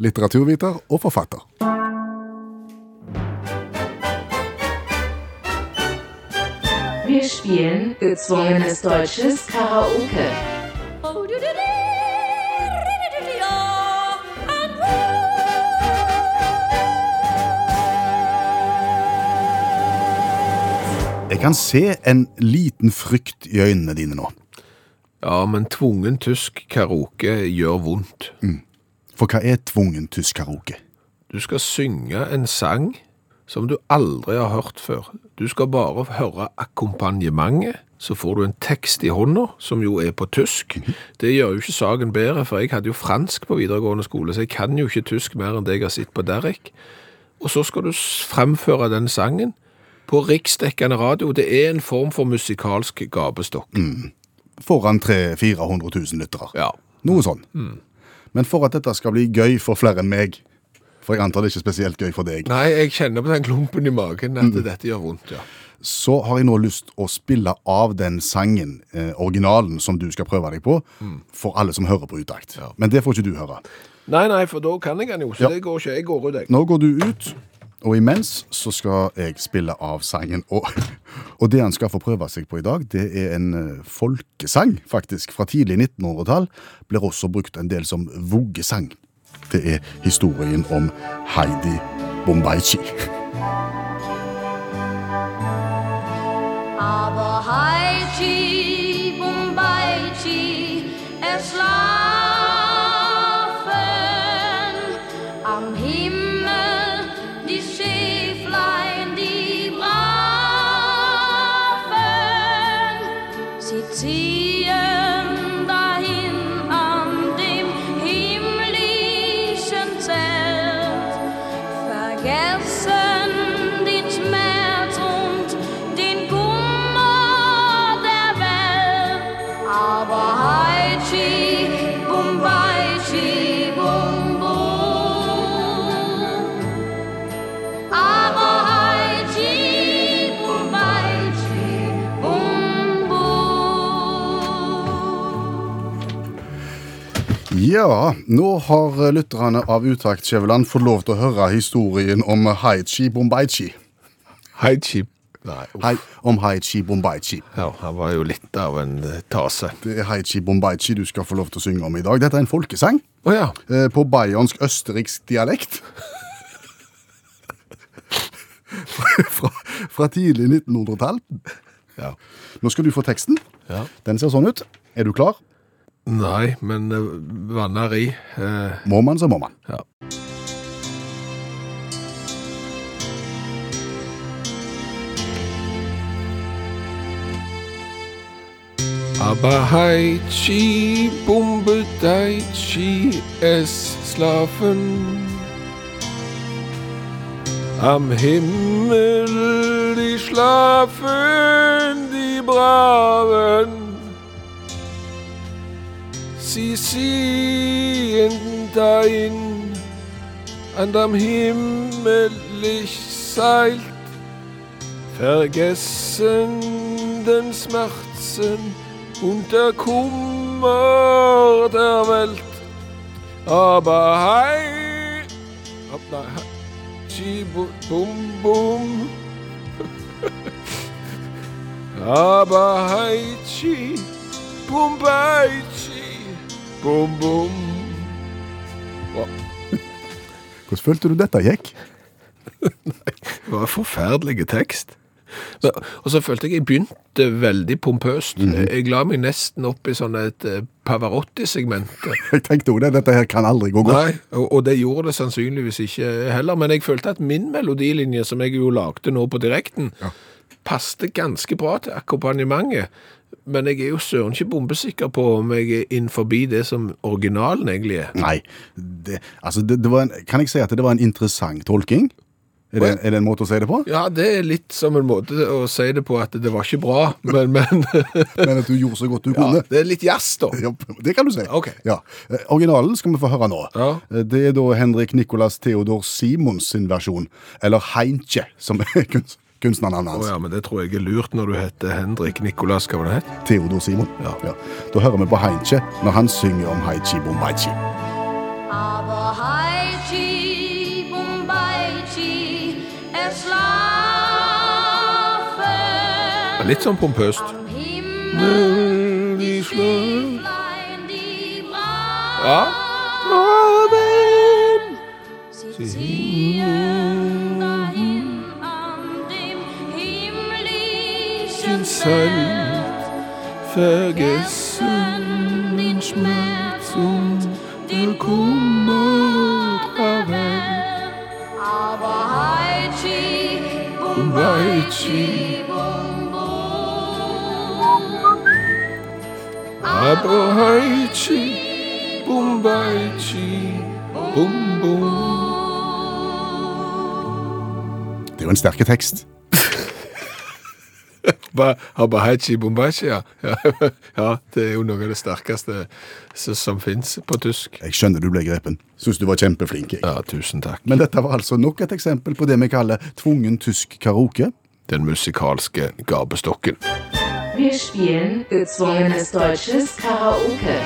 [SPEAKER 2] Litteraturviter og forfatter.
[SPEAKER 7] Wir spielen gezwungenes deutsches Karaoke.
[SPEAKER 8] Ja,
[SPEAKER 2] Jeg kan se en liten frykt i øynene dine nå.
[SPEAKER 3] Ja, men tvungen tysk karaoke gjør vondt.
[SPEAKER 2] For hva er tvungen tysk karaoke?
[SPEAKER 3] Du skal synge en sang som du aldri har hørt før. Du skal bare høre akkompagnementet, så får du en tekst i hånda, som jo er på tysk. Det gjør jo ikke saken bedre, for jeg hadde jo fransk på videregående skole, så jeg kan jo ikke tysk mer enn det jeg har sett på Derrick. Og så skal du s- fremføre den sangen på riksdekkende radio. Det er en form for musikalsk gapestokk.
[SPEAKER 2] Foran 300 400 000 lyttere.
[SPEAKER 3] Ja.
[SPEAKER 2] Noe sånn. Men for at dette skal bli gøy for flere enn meg, for jeg antar det ikke er spesielt gøy for deg,
[SPEAKER 3] Nei, jeg kjenner på den klumpen i magen at dette gjør vondt, ja.
[SPEAKER 2] så har jeg nå lyst å spille av den sangen, eh, originalen, som du skal prøve deg på, for alle som hører på utakt. Men det får ikke du høre.
[SPEAKER 3] Nei, nei, for da kan jeg den jo,
[SPEAKER 2] Ja.
[SPEAKER 3] så det går ikke. Jeg går ut, jeg.
[SPEAKER 2] Nå går du ut, og imens så skal jeg spille av sangen. Og, og det han skal få prøve seg på i dag, det er en eh, folkesang, faktisk, fra tidlig 1900-tall. Blir også brukt en del som voggesang. Det er historien om Heidi Bombaichi.
[SPEAKER 8] Aber Haiti, Bombaiti, erschlafen am Himmel die Schäflein, die braven. Sie ziehen dahin an dem himmlischen Zelt vergessen den Schmerz und den Kummer der Welt. Aber Haichi, Bumbaichi, Bum Bum. Aber Haichi, Bumbaichi, Bum Bum.
[SPEAKER 2] Ja, nå har eh, lytterne av Utakt Skjæveland fått lov til å høre historien om Haichi Bombaichi.
[SPEAKER 3] Hei, Chip. Nei, uff.
[SPEAKER 2] Hei, om Haichi Bombaichi.
[SPEAKER 3] Ja, han var jo litt av en eh, tase.
[SPEAKER 2] Det er Haichi Bombaichi du skal få lov til å synge om i dag. Dette er en folkesang.
[SPEAKER 3] Å ja.
[SPEAKER 2] eh, på bayernsk-østerriksk dialekt. fra, fra tidlig 1900-tall.
[SPEAKER 3] ja.
[SPEAKER 2] Nå skal du få teksten.
[SPEAKER 3] Ja.
[SPEAKER 2] Den ser sånn ut. Er du klar?
[SPEAKER 3] Nei, men eh, vanner i. Eh,
[SPEAKER 2] Må man, så må man.
[SPEAKER 3] ja. Aber Haichi, Bombe Daichi, es schlafen. Am Himmel, die schlafen, die Braven. Sie sehen dahin, an dem himmlisch Seilt, vergessen den Schmerzen und der Kummer der Welt. Aber hei, hopp, nei, hei, tschi, bu- bum bum. Aber hei, tschi, bum bei, tschi, bum bum.
[SPEAKER 2] Hvordan følte du dette gikk?
[SPEAKER 3] Det var forferdelige tekst. Men, og så følte jeg jeg begynte veldig pompøst. Jeg la meg nesten opp i sånn et eh, Pavarotti-segment.
[SPEAKER 2] Jeg tenkte også det. Dette her kan aldri gå godt.
[SPEAKER 3] Nei, og, og det gjorde det sannsynligvis ikke heller, men jeg følte at min melodilinje, som jeg jo lagde nå på direkten, passte ganske bra til akkompagnementet. Men jeg er jo søren ikke bombesikker på om jeg er inn forbi det som originalen egentlig er.
[SPEAKER 2] Nei. Det, altså, det, det var en, kan jeg si at det var en interessant tolking? Er det, er det en måte å si det på?
[SPEAKER 3] Ja, det er litt som en måte å si det på at det var ikke bra, men, men
[SPEAKER 2] Men at du gjorde så godt du
[SPEAKER 3] ja,
[SPEAKER 2] kunne?
[SPEAKER 3] det er litt jazz da.
[SPEAKER 2] Ja, det kan du si.
[SPEAKER 3] Ok.
[SPEAKER 2] Ja. Eh, Originalen skal vi få høre nå.
[SPEAKER 3] Ja.
[SPEAKER 2] Eh, Det er da Henrik Nicolas Theodor Simons sin versjon, eller Heintje, som er kunst, kunstnernavnet
[SPEAKER 3] Å
[SPEAKER 2] hans.
[SPEAKER 3] ja, men det tror jeg er lurt når du heter Henrik Nikolas, hva var det het?
[SPEAKER 2] Theodor Simon.
[SPEAKER 3] Ja.
[SPEAKER 2] Da hører vi på Heintje når han synger om Haichi Bombaichi.
[SPEAKER 8] Aber Haiti, Bombaiti, erschlafen.
[SPEAKER 3] Litt sånn pompøst.
[SPEAKER 8] Am Himmel die Schäflein, die brav,
[SPEAKER 3] Ja. Braven!
[SPEAKER 8] sie ziehen dahin an dem himmlischen
[SPEAKER 3] vergessen den Schmerz und den Kummer der Welt.
[SPEAKER 8] Aber Heitschi, bum,
[SPEAKER 3] Weichi,
[SPEAKER 8] bum,
[SPEAKER 3] aber Heichi, Bumbaichi, Bum Bum.
[SPEAKER 2] Det er jo en sterke tekst.
[SPEAKER 3] Ba- Aber Heichi, Bumbaichi, ja. ja. Ja, det er jo noe av det sterkeste s- som fins på tysk.
[SPEAKER 2] Jeg skjønner du ble grepen. Syns du var kjempeflink. jeg.
[SPEAKER 3] Ja, tusen takk.
[SPEAKER 2] Men dette var altså nok et eksempel på det vi kaller tvungen tysk karaoke.
[SPEAKER 3] Den musikalske gabestokken.
[SPEAKER 7] Wir spielen gezwungenes deutsches Karaoke.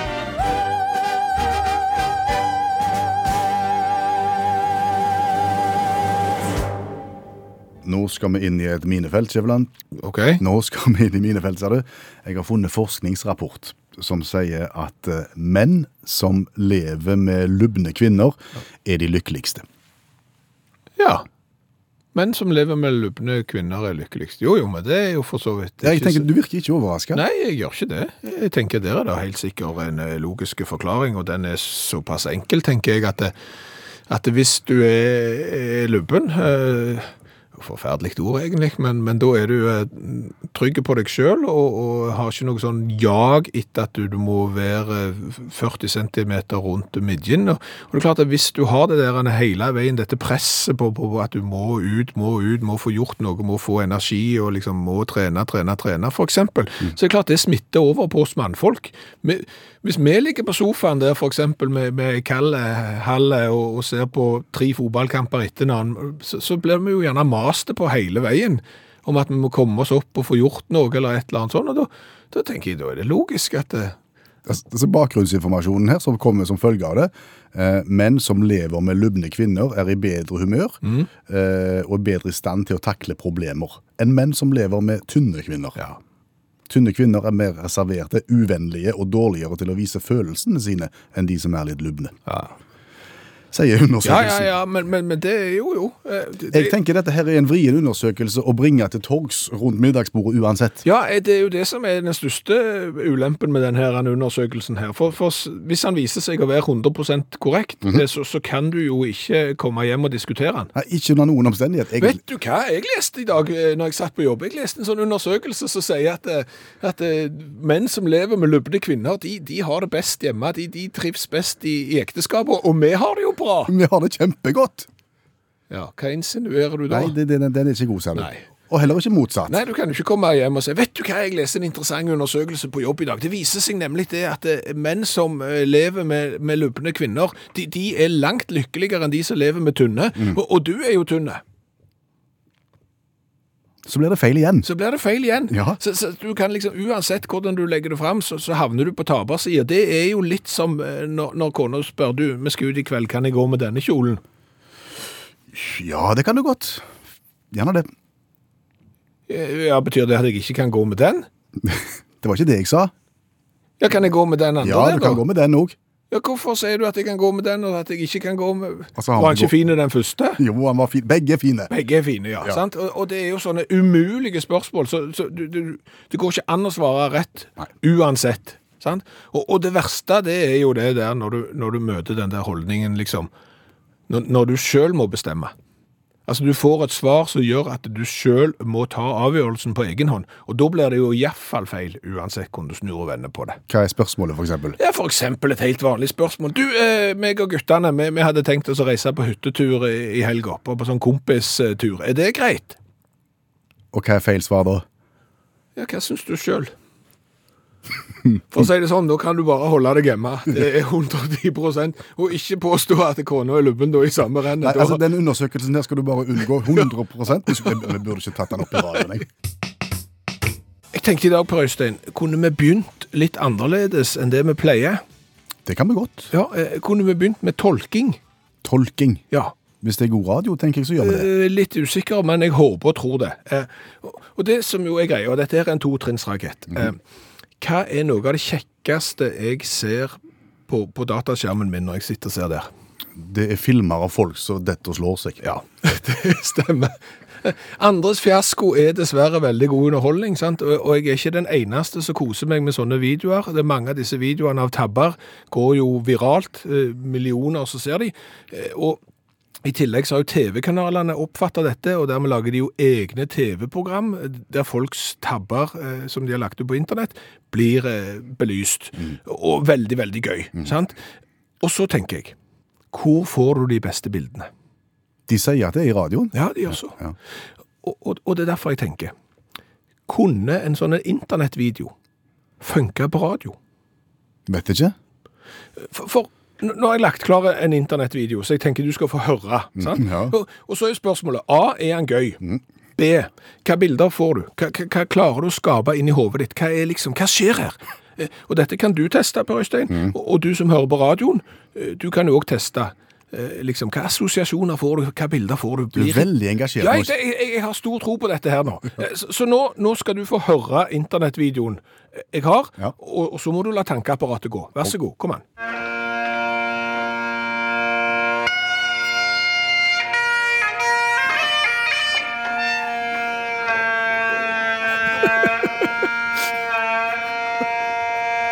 [SPEAKER 2] Nå skal vi inn i et minefelt, Skjæveland.
[SPEAKER 3] OK?
[SPEAKER 2] Nå skal vi inn i minefelt, sa du. Jeg har funnet forskningsrapport som sier at eh, menn som lever med lubne kvinner, er de lykkeligste.
[SPEAKER 3] Ja. Menn som lever med lubne kvinner, er lykkeligst. Jo, jo, men det er jo for så vidt
[SPEAKER 2] Jeg
[SPEAKER 3] ikke så-
[SPEAKER 2] tenker, Du virker ikke overraska.
[SPEAKER 3] Nei, jeg gjør ikke det. Jeg tenker Der er det helt sikkert en eh, logisk forklaring, og den er såpass enkel, tenker jeg, at, det- at hvis du er, er lubben eh, Forferdelig ord, egentlig, men, men da er du eh, trygg på deg sjøl og, og har ikke noe sånn jag etter at du, du må være eh, 40 cm rundt midjen. Og, og det er klart at hvis du har det der en hele veien, dette presset på, på, på at du må ut, må ut, må få gjort noe, må få energi og liksom må trene, trene, trene, for eksempel, så er det klart det smitter over på oss mannfolk. Vi- Hvis vi ligger på sofaen der for eksempel med, med Kalle, Halle og, og ser på tre fotballkamper etter hverandre, så, så blir vi jo gjerne maste på hele veien om at vi må komme oss opp og få gjort noe eller et eller annet sånt, og da, da tenker jeg, da er det logisk at eh, det,
[SPEAKER 2] Altså Bakgrunnsinformasjonen her som kommer som følge av det. Eh, menn som lever med lubne kvinner, er i bedre humør
[SPEAKER 3] Mm.
[SPEAKER 2] eh, og bedre i stand til å takle problemer enn menn som lever med tynne kvinner.
[SPEAKER 3] ja,
[SPEAKER 2] Tynne kvinner er mer reserverte, uvennlige og dårligere til å vise følelsene sine enn de som er litt lubne.
[SPEAKER 3] ja.
[SPEAKER 2] Sier
[SPEAKER 3] Ja,
[SPEAKER 2] undersøkelsen.
[SPEAKER 3] ja, ja, men, men, men det er jo jo. eh, Det,
[SPEAKER 2] Jeg tenker dette her er en vrien undersøkelse å bringe til torgs rundt middagsbordet uansett.
[SPEAKER 3] Ja, eh, det er jo det som er den største ulempen med denne undersøkelsen her. For, for s- hvis han viser seg å være 100 korrekt, eh, så, så kan du jo ikke komme hjem og diskutere han.
[SPEAKER 2] Nei, ikke under noen omstendighet. egentlig.
[SPEAKER 3] Vet du hva jeg leste i dag eh, når jeg satt på jobb? Jeg leste en sånn undersøkelse som sier at, eh, at eh, menn som lever med lubne kvinner, de, de har det best hjemme. De, de trives best i, i ekteskap, og, og vi har det jo bra.
[SPEAKER 2] Vi har det kjempegodt.
[SPEAKER 3] Ja, Hva insinuerer du da?
[SPEAKER 2] Nei, det, det, den er ikke god, ser du.
[SPEAKER 3] Nei.
[SPEAKER 2] Og heller ikke motsatt.
[SPEAKER 3] Nei, du kan jo ikke komme hjem og si Vet du hva, jeg leser en interessant undersøkelse på jobb i dag. Det viser seg nemlig det at eh, menn som eh, lever med, med lubne kvinner, de, de er langt lykkeligere enn de som lever med tynne.
[SPEAKER 2] Mm.
[SPEAKER 3] Og, og du er jo tynne.
[SPEAKER 2] Så blir det feil igjen.
[SPEAKER 3] Så blir det feil igjen.
[SPEAKER 2] Ja.
[SPEAKER 3] Så, så du kan liksom, uansett hvordan du legger det fram, så, så havner du på tapersida. Det er jo litt som eh, når, når kona spør du, vi skal ut i kveld, kan jeg gå med denne kjolen?
[SPEAKER 2] Ja, det kan du godt. Gjerne det.
[SPEAKER 3] Eh, Ja, Betyr det at jeg ikke kan gå med den?
[SPEAKER 2] Det var ikke det jeg sa.
[SPEAKER 3] Ja, kan jeg gå med den andre?
[SPEAKER 2] Ja,
[SPEAKER 3] der,
[SPEAKER 2] du kan
[SPEAKER 3] da?
[SPEAKER 2] gå med den òg.
[SPEAKER 3] Ja, Hvorfor sier du at jeg kan gå med den, og at jeg ikke kan gå med
[SPEAKER 2] Altså, han
[SPEAKER 3] Var
[SPEAKER 2] vil
[SPEAKER 3] han ikke
[SPEAKER 2] gå-
[SPEAKER 3] fin i den første?
[SPEAKER 2] Jo, han var fin. Begge er fine.
[SPEAKER 3] Begge er fine, ja.
[SPEAKER 2] Ja.
[SPEAKER 3] Sant? Og, og det er jo sånne umulige spørsmål, så, så du, du, det går ikke an å svare rett
[SPEAKER 2] Nei.
[SPEAKER 3] uansett. Sant? Og, og det verste det er jo det der når du, når du møter den der holdningen, liksom. Når, når du sjøl må bestemme. Altså, du får et svar som gjør at du sjøl må ta avgjørelsen på egen hånd. Og da blir det jo iallfall feil, uansett hvordan du snur og vender på det.
[SPEAKER 2] Hva er spørsmålet, for eksempel?
[SPEAKER 3] Ja, for eksempel et helt vanlig spørsmål. Du, eh, meg og guttene, vi, vi hadde tenkt oss å reise på hyttetur i, i helga, på, på sånn kompistur. Er det greit?
[SPEAKER 2] Og hva er feil svar da?
[SPEAKER 3] Ja, hva syns du sjøl? For å si det sånn, da kan du bare holde deg hjemme. Det er 110 Og ikke påstå at kona er lubben da i samme rennet.
[SPEAKER 2] Nei, altså,
[SPEAKER 3] Da-
[SPEAKER 2] Den undersøkelsen der skal du bare unngå 100 Du skulle- Jeg burde ikke tatt den opp i radioen. jeg.
[SPEAKER 3] Jeg tenkte i dag, Per Øystein, kunne vi begynt litt annerledes enn det vi pleier?
[SPEAKER 2] Det kan vi godt.
[SPEAKER 3] Ja, eh, Kunne vi begynt med tolking?
[SPEAKER 2] Tolking.
[SPEAKER 3] Ja.
[SPEAKER 2] Hvis det er god radio, tenker jeg, så gjør vi det.
[SPEAKER 3] Eh, Litt usikker, men jeg håper og tror det. Eh, og- Og det som jo er greia, og dette her er en totrinnsrakett eh, Hva er noe av det kjekkeste jeg ser på, på dataskjermen min når jeg sitter og ser der?
[SPEAKER 2] Det er filmer av folk som detter og slår seg.
[SPEAKER 3] Ja, det stemmer. Andres fiasko er dessverre veldig god underholdning, sant? Og, og jeg er ikke den eneste som koser meg med sånne videoer. Det er Mange av disse videoene av tabber går jo viralt. eh, Millioner som ser de. Eh, Og i tillegg så har jo TV-kanalene oppfatta dette, og dermed lager de jo egne TV-program eh, der folks tabber eh, som de har lagt ut på internett, blir eh, belyst. Og veldig, veldig gøy. sant? Og så tenker jeg hvor får du de beste bildene?
[SPEAKER 2] De sier at det er i radioen.
[SPEAKER 3] Ja, de gjør så.
[SPEAKER 2] Ja.
[SPEAKER 3] Og, og, og det er derfor jeg tenker, kunne en sånn en internettvideo funke på radio?
[SPEAKER 2] Vet ikke.
[SPEAKER 3] For, for n- nå har jeg lagt klar en internettvideo, så jeg tenker du skal få høre. Sant?
[SPEAKER 2] Mm, ja. Mm.
[SPEAKER 3] Og, og så er spørsmålet, A, er han gøy? B, hva bilder får du? Hva, hva, hva klarer du å skape inn i hovedet ditt? Hva, er liksom, hva skjer her? Eh, Og dette kan du teste, Per Øystein.
[SPEAKER 2] Mm.
[SPEAKER 3] Og, og du som hører på radioen, eh, du kan jo også teste. eh, Liksom, hva assosiasjoner får du, hva bilder får du?
[SPEAKER 2] Du er
[SPEAKER 3] Blir-
[SPEAKER 2] veldig engasjert.
[SPEAKER 3] Ja, jeg,
[SPEAKER 2] Mons.
[SPEAKER 3] jeg, jeg har stor tro på dette her nå. Eh, Så, så nå, nå skal du få høre internettvideoen jeg har,
[SPEAKER 2] Ja.
[SPEAKER 3] og, og så må du la tankeapparatet gå. Vær så god, kom an.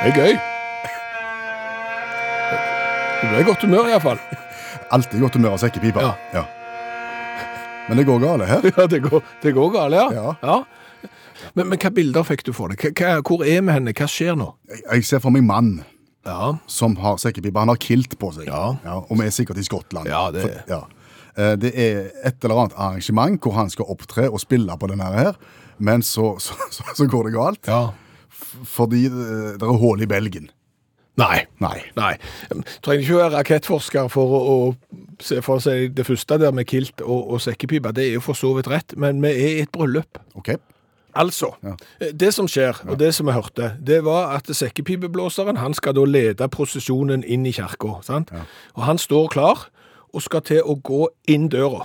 [SPEAKER 3] Det er gøy. Du ble i godt humør i hvert fall.
[SPEAKER 2] Alltid godt humør av sekkepipa.
[SPEAKER 3] Ja.
[SPEAKER 2] Ja. Men det går galt her.
[SPEAKER 3] Ja, det går, det går galt, ja.
[SPEAKER 2] Ja.
[SPEAKER 3] Men, men hva bilder fikk du for det? Hva- Hva, hvor er vi henne? Hva skjer nå?
[SPEAKER 2] Jeg- Jeg ser for meg mann
[SPEAKER 3] Ja,
[SPEAKER 2] som har sekkepipa. Han har kilt på seg.
[SPEAKER 3] Ja.
[SPEAKER 2] og vi er sikkert i Skottland.
[SPEAKER 3] Ja, det er-
[SPEAKER 2] ja. Eh, Det er et eller annet arrangement hvor han skal opptre og spille på denne her, men så, så, så, så går det galt.
[SPEAKER 3] ja.
[SPEAKER 2] Fordi eh, det er hull i belgen.
[SPEAKER 3] Nei.
[SPEAKER 2] Nei.
[SPEAKER 3] Nei. Trenger ikke å være rakettforsker for å, å se for seg det første der med kilt og, og sekkepipe. Det er jo for så vidt rett, men vi er i et bryllup.
[SPEAKER 2] OK.
[SPEAKER 3] Altså, det som skjer, og det som vi hørte, det var at sekkepipeblåseren, han skal da lede prosesjonen inn i kjerka, sant? Og han står klar, og skal til å gå inn døra.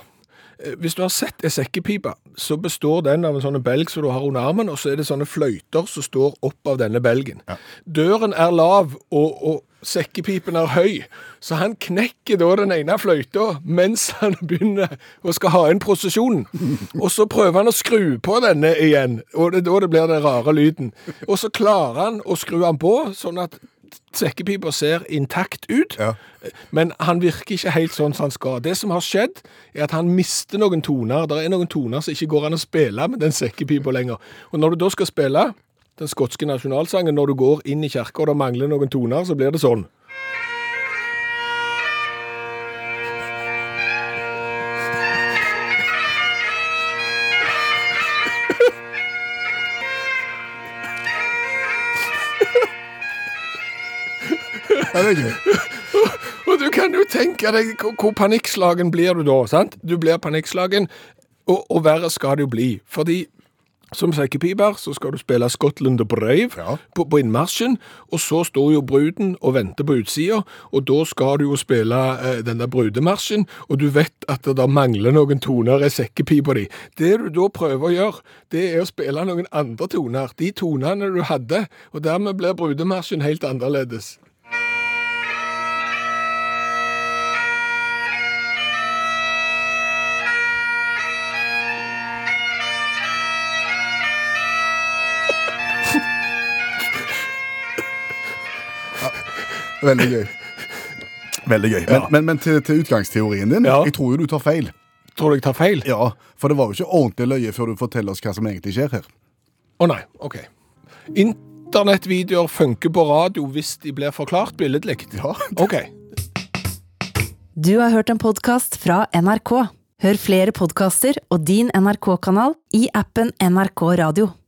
[SPEAKER 3] Eh, Hvis du har sett en sekkepipe, så består den av en sånn belg som du har under armen, og så er det sånne fløyter som står opp av denne belgen. Døren er lav, og, og sekkepipen er høy, så han knekker da den ene fløyta mens han begynner og skal ha inn prosesjonen. Og så prøver han å skru på denne igjen, og det, er da det blir den rare lyden. Og så klarer han å skru han på, sånn at sekkepipa ser intakt ut,
[SPEAKER 2] Ja.
[SPEAKER 3] men han virker ikke helt sånn som han skal. Det som har skjedd, er at han mister noen toner. Det er noen toner som ikke går an å spille med den sekkepipa lenger. Og når du da skal spille den skotske nasjonalsangen, når du går inn i kirka og det mangler noen toner, så blir det sånn.
[SPEAKER 2] Ja, det er gøy.
[SPEAKER 3] Og du kan jo tenke deg hvor- hvor panikkslagen blir du da, sant? Du blir panikkslagen, og, og verre skal det jo bli. Fordi som sekkepiper så skal du spille Scotland the Brave
[SPEAKER 2] Ja.
[SPEAKER 3] på, på innmarsjen, og så står jo bruden og venter på utsida, og da skal du jo spille eh, den der brudemarsjen, og du vet at det der mangler noen toner i sekkepipa di. Det du da prøver å gjøre, det er å spille noen andre toner, de tonene du hadde, og dermed blir brudemarsjen helt annerledes.
[SPEAKER 2] Veldig gøy. Veldig gøy. Men,
[SPEAKER 3] Ja.
[SPEAKER 2] men, men til, til utgangsteorien din.
[SPEAKER 3] Ja.
[SPEAKER 2] Jeg tror jo du tar feil.
[SPEAKER 3] Tror du jeg tar feil?
[SPEAKER 2] Ja, For det var jo ikke ordentlig løye før du forteller oss hva som egentlig skjer her.
[SPEAKER 3] Å nei, ok. Internettvideoer funker på radio hvis de blir forklart billedlig.
[SPEAKER 2] Ja.
[SPEAKER 3] Ok.
[SPEAKER 1] Du har hørt en podkast fra NRK. Hør flere podkaster og din NRK-kanal i appen NRK Radio.